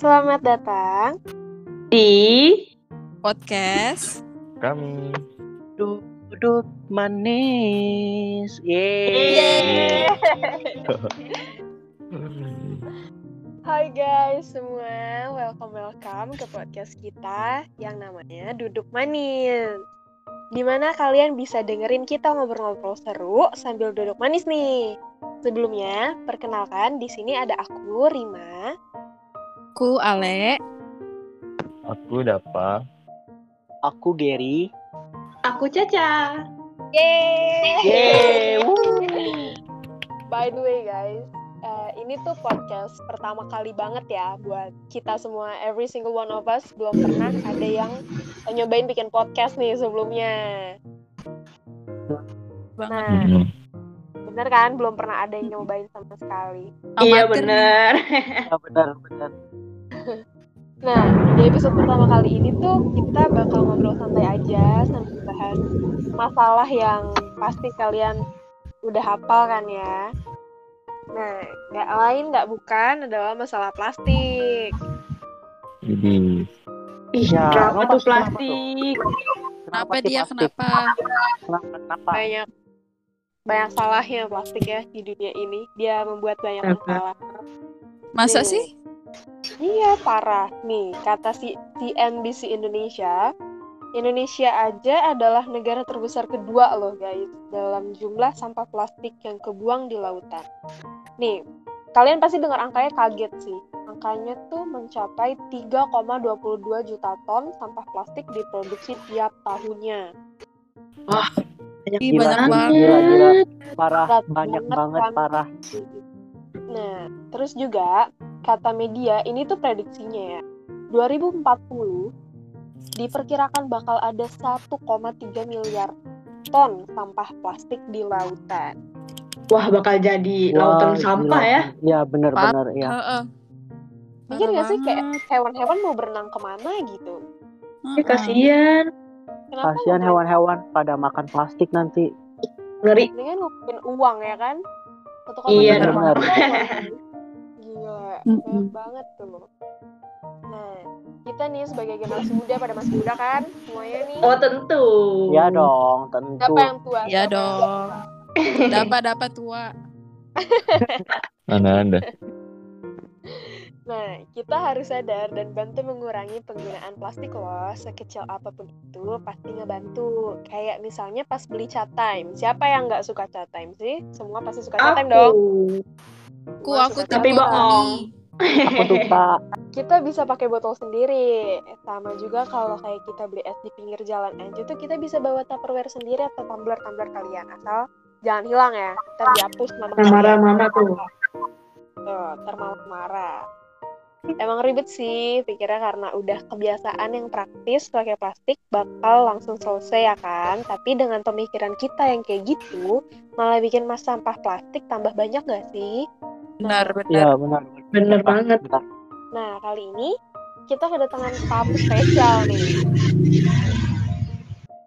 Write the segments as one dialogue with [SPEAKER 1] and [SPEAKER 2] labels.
[SPEAKER 1] Selamat datang
[SPEAKER 2] di
[SPEAKER 3] podcast
[SPEAKER 4] kami
[SPEAKER 5] duduk manis.
[SPEAKER 1] Yeay.
[SPEAKER 5] Yeay.
[SPEAKER 1] Hai guys semua, welcome welcome ke podcast kita yang namanya Duduk Manis. Dimana kalian bisa dengerin kita ngobrol-ngobrol seru sambil duduk manis nih. Sebelumnya, perkenalkan di sini ada aku Rima.
[SPEAKER 3] ku Ale.
[SPEAKER 4] aku Dapa
[SPEAKER 5] Aku Gary.
[SPEAKER 2] Aku Caca.
[SPEAKER 1] Yeay!
[SPEAKER 5] Yeay.
[SPEAKER 1] By the way guys, eh, ini tuh podcast pertama kali banget ya buat kita semua. Every single one of us belum pernah ada yang nyobain bikin podcast nih sebelumnya. Nah,
[SPEAKER 4] Hmm.
[SPEAKER 1] bener kan? Belum pernah ada yang nyobain sama sekali.
[SPEAKER 3] Amatir
[SPEAKER 2] Iya bener.
[SPEAKER 5] Ya, benar benar.
[SPEAKER 1] Nah, di episode pertama kali ini tuh kita bakal ngobrol santai aja sambil bahas masalah yang pasti kalian udah hafal kan ya. Nah, nggak lain nggak bukan adalah masalah plastik.
[SPEAKER 4] jadi
[SPEAKER 2] Ih,
[SPEAKER 5] Ya,
[SPEAKER 2] drama
[SPEAKER 5] apa
[SPEAKER 2] tuh
[SPEAKER 5] sih, kenapa
[SPEAKER 2] plastik.
[SPEAKER 3] Kenapa
[SPEAKER 5] sih
[SPEAKER 3] dia
[SPEAKER 5] plastik?
[SPEAKER 3] kenapa?
[SPEAKER 5] Kenapa? Kenapa?
[SPEAKER 1] Banyak banyak salahnya plastik ya di dunia ini. Dia membuat banyak
[SPEAKER 2] Apa?
[SPEAKER 1] masalah.
[SPEAKER 3] Masa
[SPEAKER 1] Nih.
[SPEAKER 3] sih?
[SPEAKER 1] Iya parah nih kata si CNBC Indonesia Indonesia aja adalah negara terbesar kedua loh guys dalam jumlah sampah plastik yang kebuang di lautan. Nih kalian pasti dengar angkanya kaget sih. Angkanya tuh mencapai 3,22 juta ton sampah plastik diproduksi tiap tahunnya.
[SPEAKER 5] Banyak
[SPEAKER 3] Ih,
[SPEAKER 5] gila.
[SPEAKER 3] banyak banget.
[SPEAKER 5] Gila, gila. Parah,
[SPEAKER 1] Berat
[SPEAKER 5] banyak
[SPEAKER 1] banget, kan?
[SPEAKER 5] banget,
[SPEAKER 1] Bang.
[SPEAKER 5] parah.
[SPEAKER 1] Nah, terus juga kata media ini tuh prediksinya ya. 2040 diperkirakan bakal ada 1,3 miliar ton sampah plastik di lautan.
[SPEAKER 2] Wah, bakal jadi
[SPEAKER 5] Wah,
[SPEAKER 2] lautan
[SPEAKER 5] gila.
[SPEAKER 2] sampah ya.
[SPEAKER 5] Iya, benar benar ya.
[SPEAKER 3] Heeh.
[SPEAKER 1] Mikir nggak sih
[SPEAKER 3] Parah
[SPEAKER 1] kayak
[SPEAKER 3] banget.
[SPEAKER 1] hewan-hewan mau berenang kemana gitu?
[SPEAKER 2] Ih,
[SPEAKER 3] Heeh.
[SPEAKER 2] kasihan.
[SPEAKER 1] Kenapa
[SPEAKER 5] Kasihan
[SPEAKER 1] nggak
[SPEAKER 5] hewan-hewan pada makan plastik nanti.
[SPEAKER 2] Ngeri.
[SPEAKER 1] Mendingan ngumpulin uang ya kan? Satu
[SPEAKER 2] Iya,
[SPEAKER 5] benar.
[SPEAKER 1] Gila,
[SPEAKER 3] Mm-mm.
[SPEAKER 1] banyak banget tuh loh. Nah, kita nih sebagai generasi muda pada masih muda kan, semuanya nih.
[SPEAKER 2] Oh, tentu.
[SPEAKER 5] Ya
[SPEAKER 2] Hmm.
[SPEAKER 5] dong, tentu.
[SPEAKER 1] Siapa yang tua?
[SPEAKER 3] Ya
[SPEAKER 1] Siapa yang tua?
[SPEAKER 3] dong. Dapat dapat tua.
[SPEAKER 4] mana ada
[SPEAKER 1] Nah, kita harus sadar dan bantu mengurangi penggunaan plastik loh. Sekecil apapun itu pasti ngebantu. Kayak misalnya pas beli cat time. Siapa yang nggak suka cat time sih? Semua pasti suka cat time dong.
[SPEAKER 2] Aku.
[SPEAKER 3] Ku
[SPEAKER 1] Semua
[SPEAKER 3] aku
[SPEAKER 1] suka cat
[SPEAKER 2] Tapi
[SPEAKER 1] time.
[SPEAKER 2] bohong.
[SPEAKER 5] Aku suka.
[SPEAKER 1] Kita bisa pakai botol sendiri. Eh, Sama juga kalau kayak kita beli es di pinggir jalan aja tuh kita bisa bawa tupperware sendiri atau tumbler-tumbler kalian. Asal jangan hilang ya. Ntar dihapus mama
[SPEAKER 2] Ntar marah mama tuh.
[SPEAKER 1] Tuh, ntar mama marah. Emang ribet sih, pikirnya karena udah kebiasaan yang praktis pakai plastik bakal langsung selesai ya kan. Tapi dengan pemikiran kita yang kayak gitu, malah bikin mas sampah plastik tambah banyak gak sih?
[SPEAKER 3] Benar benar.
[SPEAKER 5] Iya, benar.
[SPEAKER 2] Bener banget.
[SPEAKER 5] Bentar.
[SPEAKER 1] Nah, kali ini kita kedatangan tamu spesial nih.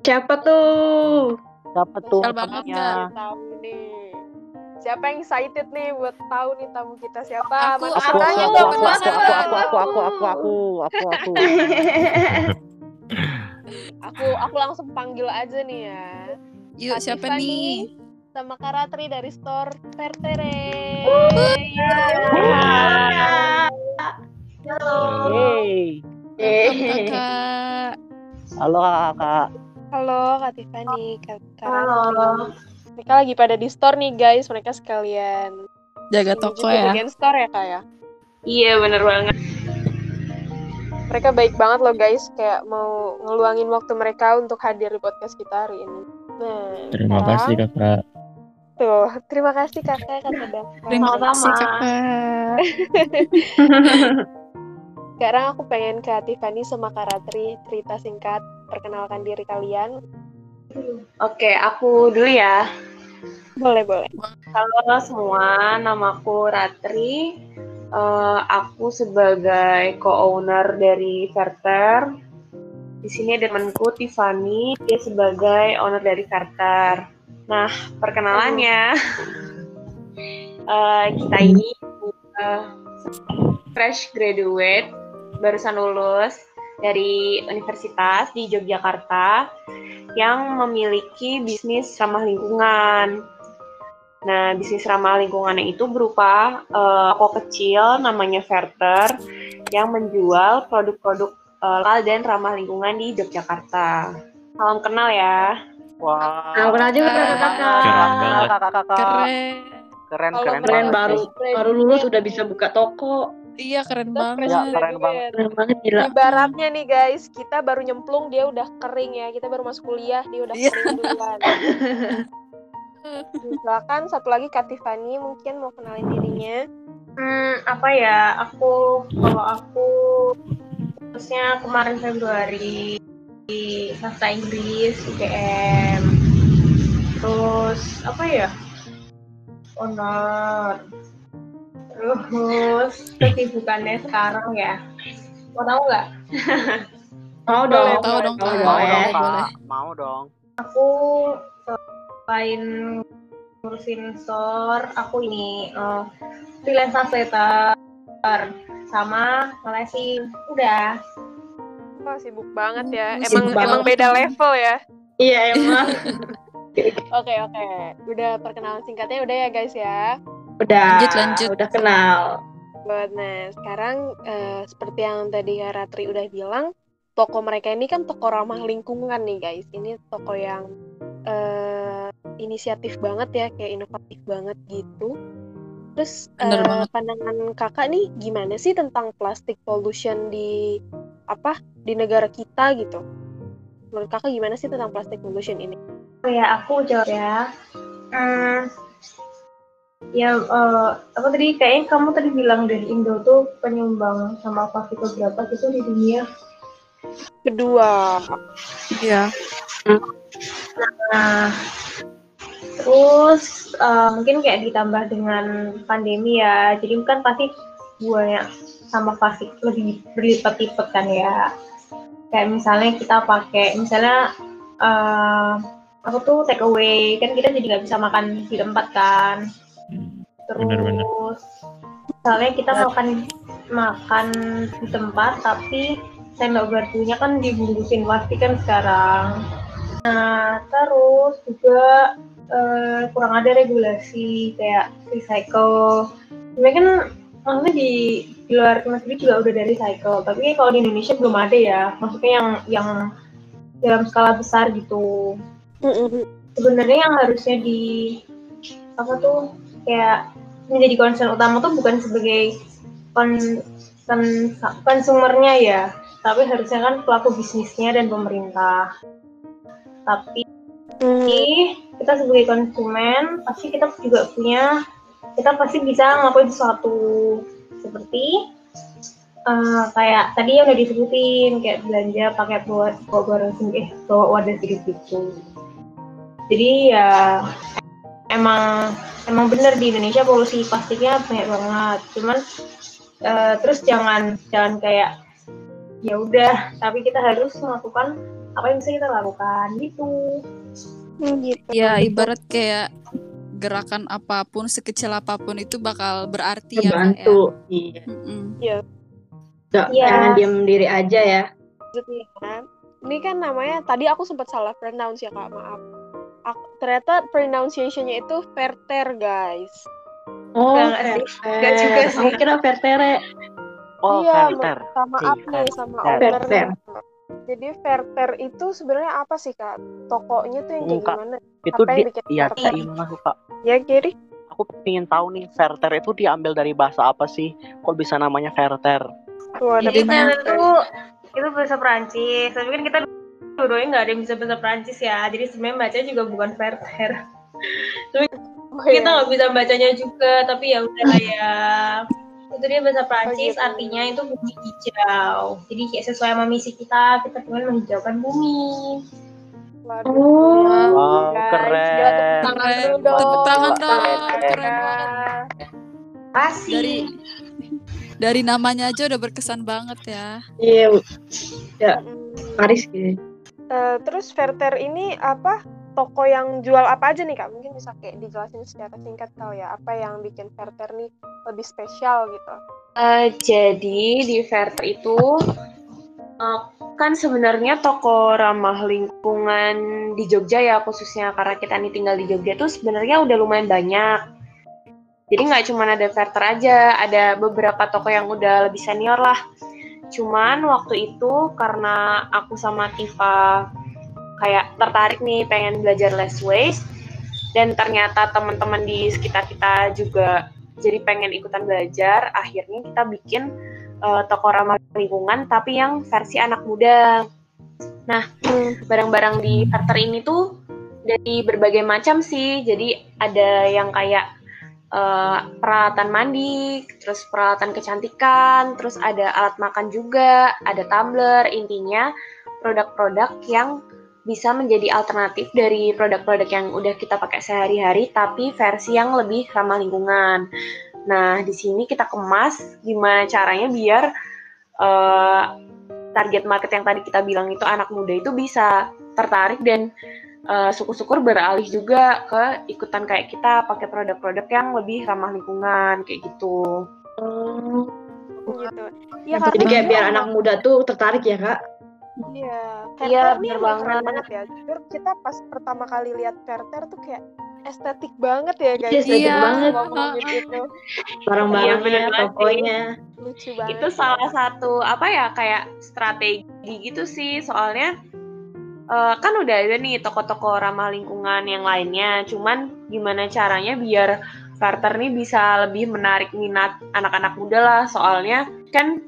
[SPEAKER 2] Siapa tuh?
[SPEAKER 5] Siapa tuh?
[SPEAKER 3] Spesial banget
[SPEAKER 5] temennya?
[SPEAKER 1] Kita tahu nih. Siapa yang excited nih buat tahu nih tamu kita siapa?
[SPEAKER 3] Aku,
[SPEAKER 1] Mana
[SPEAKER 5] aku
[SPEAKER 1] tanya dong,
[SPEAKER 5] aku aku
[SPEAKER 1] mana
[SPEAKER 5] aku
[SPEAKER 1] tanya?
[SPEAKER 5] aku aku aku aku aku aku aku Iya.
[SPEAKER 1] Aku aku langsung panggil aja nih ya. Kak
[SPEAKER 3] Yuk siapa
[SPEAKER 1] Tiffany.
[SPEAKER 3] nih?
[SPEAKER 1] Sama Karatri dari store Vertere.
[SPEAKER 5] Yeay.
[SPEAKER 2] Eh. Yeay.
[SPEAKER 3] Kakak.
[SPEAKER 5] halo kakak
[SPEAKER 1] Halo Kak Tiffany, Kak Karatri.
[SPEAKER 2] Halo.
[SPEAKER 1] Mereka lagi pada di store nih guys, mereka sekalian.
[SPEAKER 3] Jaga
[SPEAKER 1] Ini
[SPEAKER 3] toko
[SPEAKER 1] juga
[SPEAKER 3] ya.
[SPEAKER 1] Bagian store ya kak ya.
[SPEAKER 2] Iya, bener banget.
[SPEAKER 1] Mereka baik banget loh guys, kayak mau ngeluangin waktu mereka untuk hadir di podcast kita hari ini. Nah,
[SPEAKER 4] terima
[SPEAKER 1] sekarang-
[SPEAKER 4] kasih kakak
[SPEAKER 1] Tuh, terima kasih kakak kata Nah,
[SPEAKER 3] Terima
[SPEAKER 1] Dafa.
[SPEAKER 2] Sama-sama.
[SPEAKER 3] kasih kakak.
[SPEAKER 1] Sekarang aku pengen ke Tiffany sama Karatri cerita singkat perkenalkan diri kalian.
[SPEAKER 6] Oke, aku dulu ya.
[SPEAKER 1] Boleh boleh.
[SPEAKER 6] Halo semua, namaku Ratri. Eh, aku sebagai co-owner dari Verter. Di sini ada temanku Tiffany, dia sebagai owner dari Verter. Nah, perkenalannya. Eh, kita ini eh, fresh graduate, barusan lulus dari universitas di Yogyakarta yang memiliki bisnis ramah lingkungan. Nah, bisnis ramah lingkungannya itu berupa eh, toko kecil namanya Verter yang menjual produk-produk eh, lokal dan ramah lingkungan di Yogyakarta. Salam kenal ya.
[SPEAKER 5] Wah.
[SPEAKER 2] Nah, kenal juga kakak-kakak.
[SPEAKER 4] Keren banget.
[SPEAKER 5] Kakak-kakak.
[SPEAKER 3] Keren.
[SPEAKER 5] Keren,
[SPEAKER 1] Kalau
[SPEAKER 5] keren,
[SPEAKER 2] Keren
[SPEAKER 5] banget
[SPEAKER 2] baru
[SPEAKER 5] sih.
[SPEAKER 2] baru lulus udah bisa buka toko.
[SPEAKER 3] Iya keren
[SPEAKER 1] Kita
[SPEAKER 3] banget.
[SPEAKER 1] fresh
[SPEAKER 5] Iya, keren
[SPEAKER 1] graduate.
[SPEAKER 5] banget.
[SPEAKER 2] Ya, Keren banget gila.
[SPEAKER 1] Ibaratnya nih guys, kita baru nyemplung dia udah kering ya. Kita baru masuk kuliah dia udah
[SPEAKER 3] Iya.
[SPEAKER 1] kering duluan. Silakan satu lagi Kak Tiffany mungkin mau kenalin dirinya.
[SPEAKER 6] Hmm, apa ya? Aku kalau aku khususnya kemarin Februari di sastra Inggris UGM. Terus apa ya? Honor. Terus kesibukannya sekarang ya. Mau tahu nggak?
[SPEAKER 2] Mau
[SPEAKER 3] Boleh
[SPEAKER 2] dong.
[SPEAKER 3] tahu dong, Kak.
[SPEAKER 6] Iya,
[SPEAKER 2] boleh.
[SPEAKER 5] Mau dong,
[SPEAKER 2] Boleh.
[SPEAKER 5] Kak. Mau dong.
[SPEAKER 6] Aku selain ngurusin store, aku ini eh, freelance translator sama ngelesi udah
[SPEAKER 1] Wah, sibuk banget ya.
[SPEAKER 3] Uh,
[SPEAKER 1] Emang
[SPEAKER 2] Hmm, sibuk
[SPEAKER 1] emang
[SPEAKER 2] banget.
[SPEAKER 1] beda level ya.
[SPEAKER 2] Iya emang.
[SPEAKER 1] Oke, oke. Udah perkenalan singkatnya udah ya guys ya.
[SPEAKER 2] Udah.
[SPEAKER 3] Lanjut, lanjut.
[SPEAKER 2] Udah kenal.
[SPEAKER 1] Buat nah, sekarang eh, seperti yang tadi ya Ratri udah bilang, toko mereka ini kan toko ramah lingkungan nih guys. Ini toko yang eh, inisiatif banget ya, kayak inovatif banget gitu. Terus eh,
[SPEAKER 3] Bener banget.
[SPEAKER 1] pandangan kakak nih gimana sih tentang plastik pollution di apa di negara kita gitu? Menurut kakak gimana sih tentang plastik pollution ini?
[SPEAKER 6] Oh ya, aku jawab ya. Hmm, ya, eh, apa tadi? Kayaknya kamu tadi bilang dari Indo tuh penyumbang sama partikel berapa gitu di dunia.
[SPEAKER 1] Kedua,
[SPEAKER 3] Iya.
[SPEAKER 6] Nah, terus eh, mungkin kayak ditambah dengan pandemi ya. Jadi kan pasti buahnya sama plastik lebih berlipat-lipat kan ya. Kayak misalnya kita pakai, misalnya eh, aku tuh take away, kan kita jadi nggak bisa makan di tempat kan. terus
[SPEAKER 4] Benar-benar.
[SPEAKER 6] misalnya kita makan makan di tempat tapi sendok garpunya kan dibungkusin plastik kan sekarang nah terus juga eh, kurang ada regulasi kayak recycle sebenarnya kan maksudnya di, di luar negeri juga udah dari recycle tapi kalau di Indonesia belum ada ya maksudnya yang yang dalam skala besar gitu sebenarnya yang harusnya di apa tuh kayak menjadi concern utama tuh bukan sebagai kon, kon- konsumernya ya tapi harusnya kan pelaku bisnisnya dan pemerintah tapi
[SPEAKER 1] Hmm,
[SPEAKER 6] kita sebagai konsumen pasti kita juga punya kita pasti bisa ngelakuin sesuatu seperti eh, kayak tadi yang udah disebutin kayak belanja pakai buat bawa barang sendiri eh, bawa wadah sendiri gitu jadi ya emang emang bener di Indonesia polusi plastiknya banyak banget cuman eh, terus jangan jangan kayak ya udah tapi kita harus melakukan apa yang bisa kita lakukan gitu
[SPEAKER 1] gitu.
[SPEAKER 3] Ya ibarat kayak gerakan apapun sekecil apapun itu bakal berarti ya Kak, ya.
[SPEAKER 2] Bantu. Iya.
[SPEAKER 3] Mm-mm.
[SPEAKER 2] Gak-
[SPEAKER 6] Iya.
[SPEAKER 2] Jangan diam diri aja ya.
[SPEAKER 1] maksudnya kan ini kan namanya tadi aku sempat salah pronounce ya kak maaf aku, ternyata pronunciation-nya itu verter guys
[SPEAKER 2] Oh,
[SPEAKER 6] Enggak sih. Enggak juga
[SPEAKER 2] Fer. Aku
[SPEAKER 6] sih.
[SPEAKER 2] kira Fertere.
[SPEAKER 5] Oh,
[SPEAKER 1] Iya,
[SPEAKER 5] Carter.
[SPEAKER 1] sama
[SPEAKER 5] Iya,
[SPEAKER 1] up nih sama
[SPEAKER 5] verter.
[SPEAKER 1] owner jadi verter itu sebenarnya apa sih kak tokonya tuh yang kayak
[SPEAKER 5] Enggak.
[SPEAKER 1] gimana
[SPEAKER 5] Itu
[SPEAKER 1] Apa yang
[SPEAKER 5] di
[SPEAKER 1] bikin
[SPEAKER 5] iya
[SPEAKER 1] Carter?
[SPEAKER 5] dari mana tuh, Kak?
[SPEAKER 1] ya kiri
[SPEAKER 5] Aku pengen tahu nih, verter itu diambil dari bahasa apa sih? Kok bisa namanya verter?
[SPEAKER 1] tuh ada
[SPEAKER 6] Jadi
[SPEAKER 3] Jadinya-
[SPEAKER 1] pertanyaan.
[SPEAKER 6] Italian itu itu bahasa Perancis, tapi kan kita dua nggak ada yang bisa bahasa Perancis ya. Jadi sebenarnya baca juga bukan verter.
[SPEAKER 1] Oh, iya.
[SPEAKER 6] Kita nggak bisa bacanya juga, tapi ya udah lah ya. Itu dia bahasa Perancis,
[SPEAKER 1] gitu.
[SPEAKER 6] artinya itu bumi hijau. Jadi kayak sesuai sama misi kita, kita pengen menghijaukan bumi.
[SPEAKER 1] Waduh.
[SPEAKER 2] Oh.
[SPEAKER 5] Wow,
[SPEAKER 1] Guys,
[SPEAKER 5] keren.
[SPEAKER 1] gila, tepuk tangan
[SPEAKER 3] Keren.
[SPEAKER 1] dulu dong.
[SPEAKER 3] Tepuk tangan dong.
[SPEAKER 1] Keren.
[SPEAKER 3] Keren banget. Dari
[SPEAKER 6] Pasti.
[SPEAKER 3] dari namanya aja udah berkesan banget ya.
[SPEAKER 2] Iya,
[SPEAKER 1] Mm.
[SPEAKER 2] Paris gitu.
[SPEAKER 1] Eh, terus Verter ini apa toko yang jual apa aja nih kak? Mungkin bisa kayak dijelasin secara singkat kali ya apa yang bikin Verter nih lebih spesial gitu?
[SPEAKER 6] Eh, jadi di Verter itu eh, kan sebenarnya toko ramah lingkungan di Jogja ya khususnya karena kita nih tinggal di Jogja tuh sebenarnya udah lumayan banyak. Jadi nggak cuma ada Verter aja, ada beberapa toko yang udah lebih senior lah. Cuman waktu itu karena aku sama Tifa kayak tertarik nih pengen belajar less waste dan ternyata teman-teman di sekitar kita juga jadi pengen ikutan belajar akhirnya kita bikin eh, toko ramah lingkungan tapi yang versi anak muda nah barang-barang di charter ini tuh dari berbagai macam sih jadi ada yang kayak eh, peralatan mandi terus peralatan kecantikan terus ada alat makan juga ada tumbler intinya produk-produk yang bisa menjadi alternatif dari produk-produk yang udah kita pakai sehari-hari tapi versi yang lebih ramah lingkungan. Nah, di sini kita kemas gimana caranya biar eh, target market yang tadi kita bilang itu anak muda itu bisa tertarik dan eh, syukur-syukur beralih juga ke ikutan kayak kita pakai produk-produk yang lebih ramah lingkungan kayak gitu.
[SPEAKER 1] gitu. Ya, karena
[SPEAKER 2] Jadi kayak
[SPEAKER 1] dia
[SPEAKER 2] biar
[SPEAKER 1] emang-
[SPEAKER 2] anak muda tuh tertarik ya kak.
[SPEAKER 1] Iya,
[SPEAKER 6] Iya,
[SPEAKER 1] Verter nih
[SPEAKER 6] bener
[SPEAKER 1] emang keren
[SPEAKER 6] banget.
[SPEAKER 1] banget ya. Jujur kita pas pertama kali lihat Verter tuh kayak estetik banget ya guys.
[SPEAKER 2] Iya, estetik
[SPEAKER 1] Iya,
[SPEAKER 2] banget.
[SPEAKER 1] ngomongin itu
[SPEAKER 6] Iya, bener
[SPEAKER 2] Barang-barangnya,
[SPEAKER 6] banget sih.
[SPEAKER 2] tokonya.
[SPEAKER 1] lucu banget.
[SPEAKER 6] itu salah satu apa ya kayak strategi gitu sih soalnya eh, kan udah ada nih toko-toko ramah lingkungan yang lainnya cuman gimana caranya biar Carter nih bisa lebih menarik minat anak-anak muda lah soalnya kan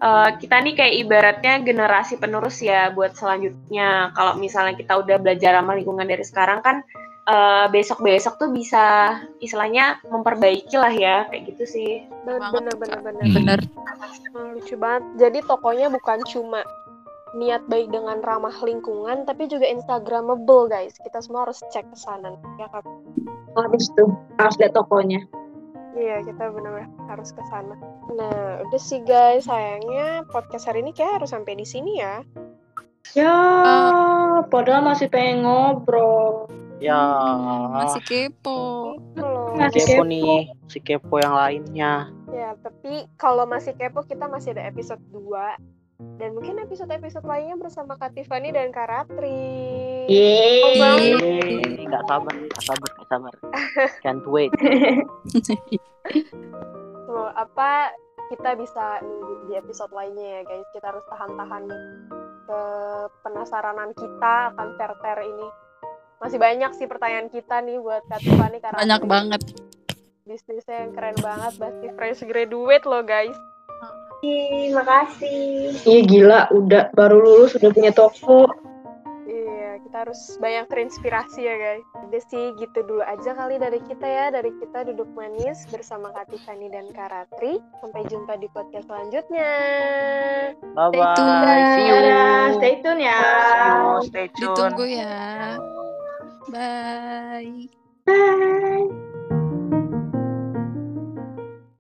[SPEAKER 6] eh, kita nih kayak ibaratnya generasi penerus ya buat selanjutnya kalau misalnya kita udah belajar ramah lingkungan dari sekarang kan eh, besok-besok tuh bisa istilahnya memperbaiki lah ya kayak gitu sih
[SPEAKER 1] bener
[SPEAKER 3] banget,
[SPEAKER 1] bener
[SPEAKER 3] Kak.
[SPEAKER 1] bener, bener.
[SPEAKER 3] Bener.
[SPEAKER 1] Hmm, lucu banget. Jadi tokonya bukan cuma niat baik dengan ramah lingkungan, tapi juga instagramable guys. Kita semua harus cek ke sana. Ya, Kak.
[SPEAKER 2] Harus tuh, Oh, harus lihat tokonya.
[SPEAKER 1] Iya, kita benar-benar harus ke sana. Nah, udah sih guys, sayangnya podcast hari ini kayak harus sampai di sini ya.
[SPEAKER 2] Ya,
[SPEAKER 6] Eh.
[SPEAKER 2] padahal masih pengen ngobrol.
[SPEAKER 5] Ya,
[SPEAKER 3] Masih kepo.
[SPEAKER 1] Gitu loh.
[SPEAKER 5] si
[SPEAKER 2] Oh, Masih
[SPEAKER 5] kepo
[SPEAKER 2] kepo.
[SPEAKER 5] nih, si kepo yang lainnya.
[SPEAKER 1] Ya, tapi kalau masih kepo kita masih ada episode 2 dan mungkin episode-episode lainnya bersama Kak Tiffany dan Kak Ratri.
[SPEAKER 6] Iya.
[SPEAKER 2] Yeay.
[SPEAKER 5] Yeay, nggak sabar nih, nggak sabar, nggak sabar. Can't wait.
[SPEAKER 1] Tuh, apa kita bisa nunggu di episode lainnya ya guys. Kita harus tahan-tahan ke penasaranan kita akan ter-ter ini. Masih banyak sih pertanyaan kita nih buat Kak Tiffany Kak
[SPEAKER 3] Banyak
[SPEAKER 1] Ratri.
[SPEAKER 3] banget.
[SPEAKER 1] bisnisnya yang keren banget pasti fresh graduate loh guys
[SPEAKER 6] Terima kasih.
[SPEAKER 2] Iya gila, udah baru lulus udah punya toko.
[SPEAKER 1] iya kita harus banyak terinspirasi ya guys udah sih gitu dulu aja kali dari kita ya dari kita duduk manis bersama Kak Tiffany dan Kak Ratri sampai jumpa di podcast selanjutnya
[SPEAKER 5] Bye-bye, see you.
[SPEAKER 2] Dadah, stay tune ya.
[SPEAKER 5] See you, stay tune.
[SPEAKER 3] Ditunggu ya. Bye.
[SPEAKER 2] Bye.